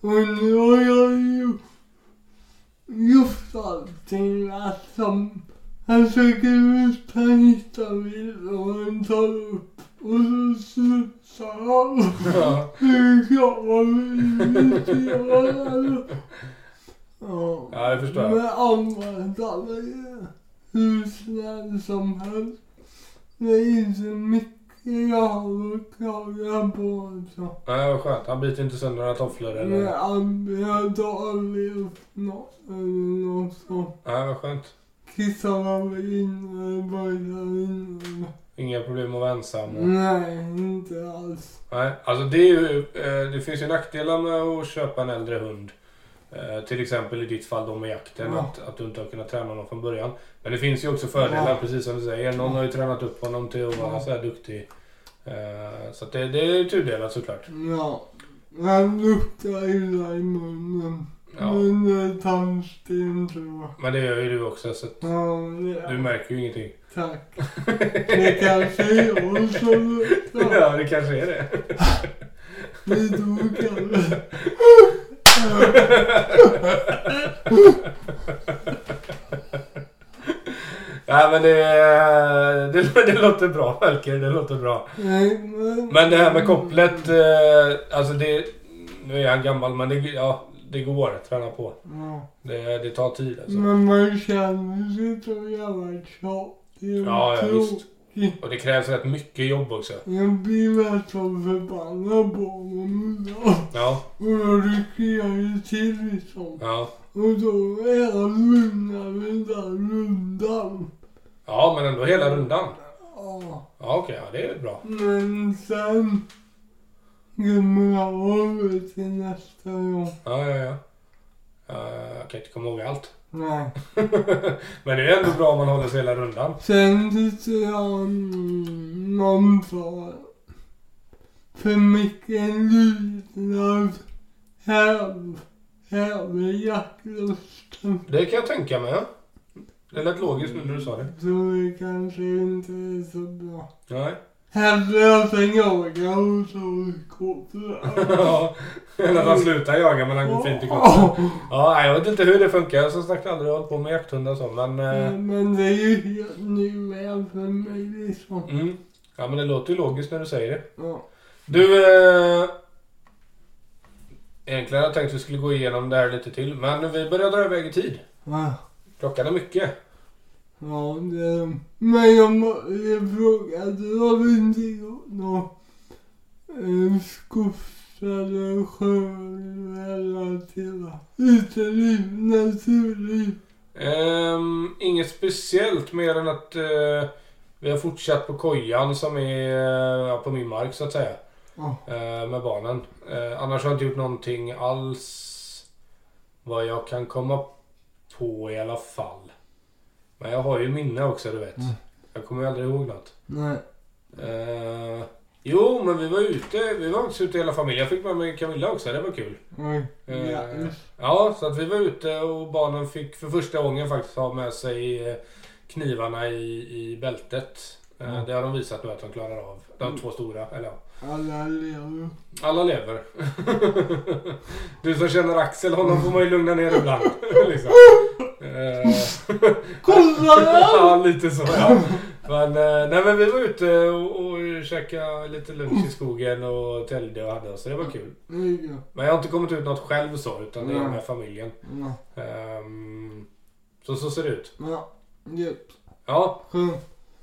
Speaker 2: Och nu har jag ju gjort allting rätt som han söker ut panistabil och han tar upp och så slutar han.
Speaker 1: Ja.
Speaker 2: Nu klarar vi inte göra Ja,
Speaker 1: Ja, det förstår jag.
Speaker 2: Men användaren är hur snäll som helst. Det är inte mycket jag har att klaga på alltså.
Speaker 1: Ja, vad skönt. Han biter inte sönder några tofflor eller?
Speaker 2: Nej,
Speaker 1: Ja,
Speaker 2: han- jag har aldrig gjort något eller något sånt.
Speaker 1: vad skönt.
Speaker 2: Kissarna var inne, bajsade inne.
Speaker 1: Inga problem att vara ensam. Och...
Speaker 2: Nej, inte alls.
Speaker 1: Nej, alltså det, är ju, eh, det finns ju nackdelar med att köpa en äldre hund. Eh, till exempel i ditt fall då med jakten,
Speaker 2: Ja.
Speaker 1: att, att du inte har kunnat träna någon från början. Men det finns ju också fördelar,
Speaker 2: Ja.
Speaker 1: precis som du säger. Någon har ju tränat upp honom till att vara
Speaker 2: Ja.
Speaker 1: så här duktig. Eh, så att det, det är ju tudelat såklart.
Speaker 2: Ja. Han luktar illa i munnen.
Speaker 1: Ja.
Speaker 2: Men det är eh, tandsten tror jag.
Speaker 1: Men det gör ju du också, så att
Speaker 2: Ja,
Speaker 1: du
Speaker 2: det,
Speaker 1: märker ju ingenting.
Speaker 2: tack. Det kanske är jag som luktar.
Speaker 1: det kanske är det.
Speaker 2: Vi tog kanske.
Speaker 1: Nej, men det, eh, det, det låter bra, Melker. Det låter bra.
Speaker 2: Nej, men-
Speaker 1: Men det här med
Speaker 2: Mm.
Speaker 1: kopplet, eh, alltså det... Nu är han gammal, men det, ja, det går. Träna på.
Speaker 2: Ja.
Speaker 1: Det, det tar tid alltså.
Speaker 2: Men man känner sig så jävla tjatig och
Speaker 1: Ja, ja, visst.
Speaker 2: tråkig.
Speaker 1: Och det krävs rätt mycket jobb också.
Speaker 2: Jag blir nästan förbannad på honom idag.
Speaker 1: Ja,
Speaker 2: Och då rycker jag ju till liksom.
Speaker 1: ja.
Speaker 2: Och då är han lugnare den där rundan.
Speaker 1: Ja, men ändå hela rundan.
Speaker 2: Ja.
Speaker 1: Ja, okej. ja, det är bra.
Speaker 2: Men sen glömmer jag av det till nästa gång.
Speaker 1: Ja, ja, ja. Eh, Jag kan inte komma ihåg allt.
Speaker 2: Nej.
Speaker 1: men det är ändå bra om man håller sig hela rundan.
Speaker 2: Sen tyckte jag mm, någon sa för mycket lydnad häv, häver jaktlusten.
Speaker 1: Det kan jag tänka mig. ja. Det lät logiskt nu när du sa det.
Speaker 2: Så det kanske inte är så bra.
Speaker 1: Nej.
Speaker 2: Hellre att den jagar och så skotrar.
Speaker 1: Ja, Eller att han slutar jaga men han går fint i kopplet. Ja, nej, jag vet inte hur det funkar. Jag har som sagt aldrig hållit på med jakthundar och så, men... eh,
Speaker 2: Men det är ju helt ny värld för mig liksom.
Speaker 1: Mm. Ja, men det låter ju logiskt när du säger det.
Speaker 2: Ja.
Speaker 1: Du... Eh, Egentligen hade jag tänkt att vi skulle gå igenom det här lite till, men vi börjar dra iväg i tid.
Speaker 2: Ja.
Speaker 1: Klockan är mycket.
Speaker 2: Ja, det, men jag måste fråga, du har inte gjort något eh, skoft eller sjörelaterat uteliv, naturliv?
Speaker 1: Ehm, inget speciellt mer än att eh, vi har fortsatt på kojan som är eh, ja, på min mark så att säga.
Speaker 2: Ja.
Speaker 1: Eh, med barnen. Eh, annars har jag inte gjort någonting alls vad jag kan komma på i alla fall. Men jag har ju minne också du vet.
Speaker 2: Mm.
Speaker 1: Jag kommer ju aldrig ihåg något.
Speaker 2: Nej.
Speaker 1: Eh, jo men vi var ute, vi var faktiskt ute hela familjen. Jag fick med mig Camilla också, det var kul.
Speaker 2: Nej.
Speaker 1: Eh,
Speaker 2: Ja.
Speaker 1: Ja, så att vi var ute och barnen fick för första gången faktiskt ha med sig eh, knivarna i, i bältet. Eh,
Speaker 2: Mm.
Speaker 1: Det har de visat nu att de klarar av. De
Speaker 2: Mm.
Speaker 1: två stora, eller ja.
Speaker 2: Alla lever.
Speaker 1: Alla lever. du som känner Axel, honom får man ju lugna ner ibland. liksom. Eh,
Speaker 2: Kolla!
Speaker 1: ja, lite så ja. Men, eh, nej, men vi var ute och, och käkade lite lunch i skogen och täljde och hade oss. Så det var kul.
Speaker 2: Nej,
Speaker 1: Men jag har inte kommit ut något själv så, utan det är
Speaker 2: Mm.
Speaker 1: med familjen.
Speaker 2: ja.
Speaker 1: Ehm, så så ser det ut.
Speaker 2: Ja, gött.
Speaker 1: Ja.
Speaker 2: Skönt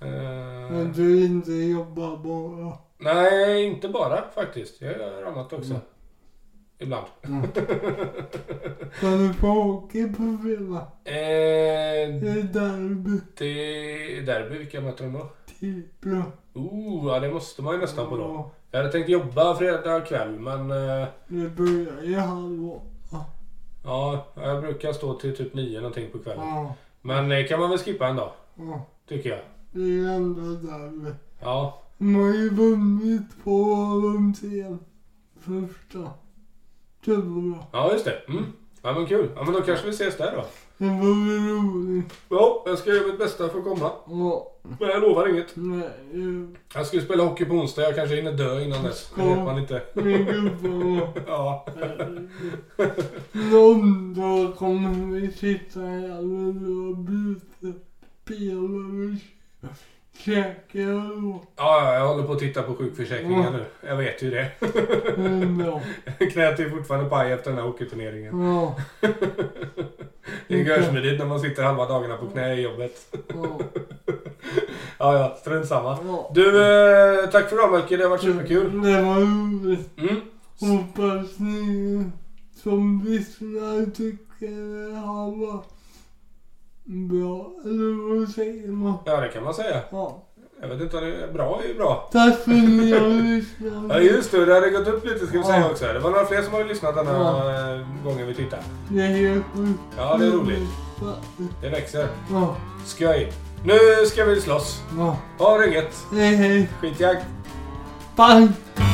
Speaker 1: eh,
Speaker 2: att du inte jobbar bara.
Speaker 1: nej, inte bara faktiskt. Jag gör annat också.
Speaker 2: Mm.
Speaker 1: Ibland.
Speaker 2: Mm. Kan du få åka på fredag? Det
Speaker 1: Eh,
Speaker 2: är derby.
Speaker 1: det är derby. Vilka möter de då?
Speaker 2: Tibro.
Speaker 1: Oh, ja, det måste man ju nästan på då. Jag hade tänkt jobba fredag kväll, men... eh,
Speaker 2: Det börjar i halv åtta.
Speaker 1: ja, jag brukar stå till typ nio någonting på kvällen.
Speaker 2: Ja,
Speaker 1: Men eh, kan man väl skippa en dag,
Speaker 2: ja.
Speaker 1: tycker jag.
Speaker 2: Det är ändå derby.
Speaker 1: Ja.
Speaker 2: De har ju vunnit två av de tre första. Det var bra.
Speaker 1: Ja, just det. Mm. Ja, men kul. Ja, men då kanske vi ses där då.
Speaker 2: Det var väl roligt.
Speaker 1: Ja, jag ska göra mitt bästa för att komma.
Speaker 2: Ja,
Speaker 1: Men jag lovar inget.
Speaker 2: nej. det-
Speaker 1: Jag skulle spela hockey på onsdag, jag kanske hinner dö innan dess. Det vet man inte.
Speaker 2: Min gubbe var...
Speaker 1: Ja.
Speaker 2: Någon dag kommer vi sitta här när du har bytt pelare och käka öl.
Speaker 1: ja, jag håller på att titta på sjukförsäkringen nu. Jag vet ju det.
Speaker 2: Ja.
Speaker 1: Knät är fortfarande paj efter den här hockeyturneringen.
Speaker 2: Ja.
Speaker 1: Det är görsmidigt när man sitter halva dagarna på knä i jobbet.
Speaker 2: Ja.
Speaker 1: Ja, ja, strunt samma.
Speaker 2: ja.
Speaker 1: Du, eh, tack för idag Melker. Det har varit superkul.
Speaker 2: Det var roligt.
Speaker 1: Mm.
Speaker 2: Hoppas ni som lyssnar tycker det här var bra. Eller vad säger man?
Speaker 1: Ja, det kan man säga.
Speaker 2: Ja.
Speaker 1: Jag vet inte, om det är bra är ju bra.
Speaker 2: Tack för att ni har
Speaker 1: Ja,
Speaker 2: lyssnat.
Speaker 1: just det. Det hade gått upp lite ska vi säga
Speaker 2: Ja.
Speaker 1: också. Det var några fler som hade lyssnat denna eh, gången vi tittade.
Speaker 2: Det är helt sjukt.
Speaker 1: Ja, det är roligt. Det växer.
Speaker 2: Ja.
Speaker 1: Skoj. Nu ska vi slåss.
Speaker 2: Ja.
Speaker 1: Ha det gött.
Speaker 2: Hej hej.
Speaker 1: Skitjakt.
Speaker 2: Bye.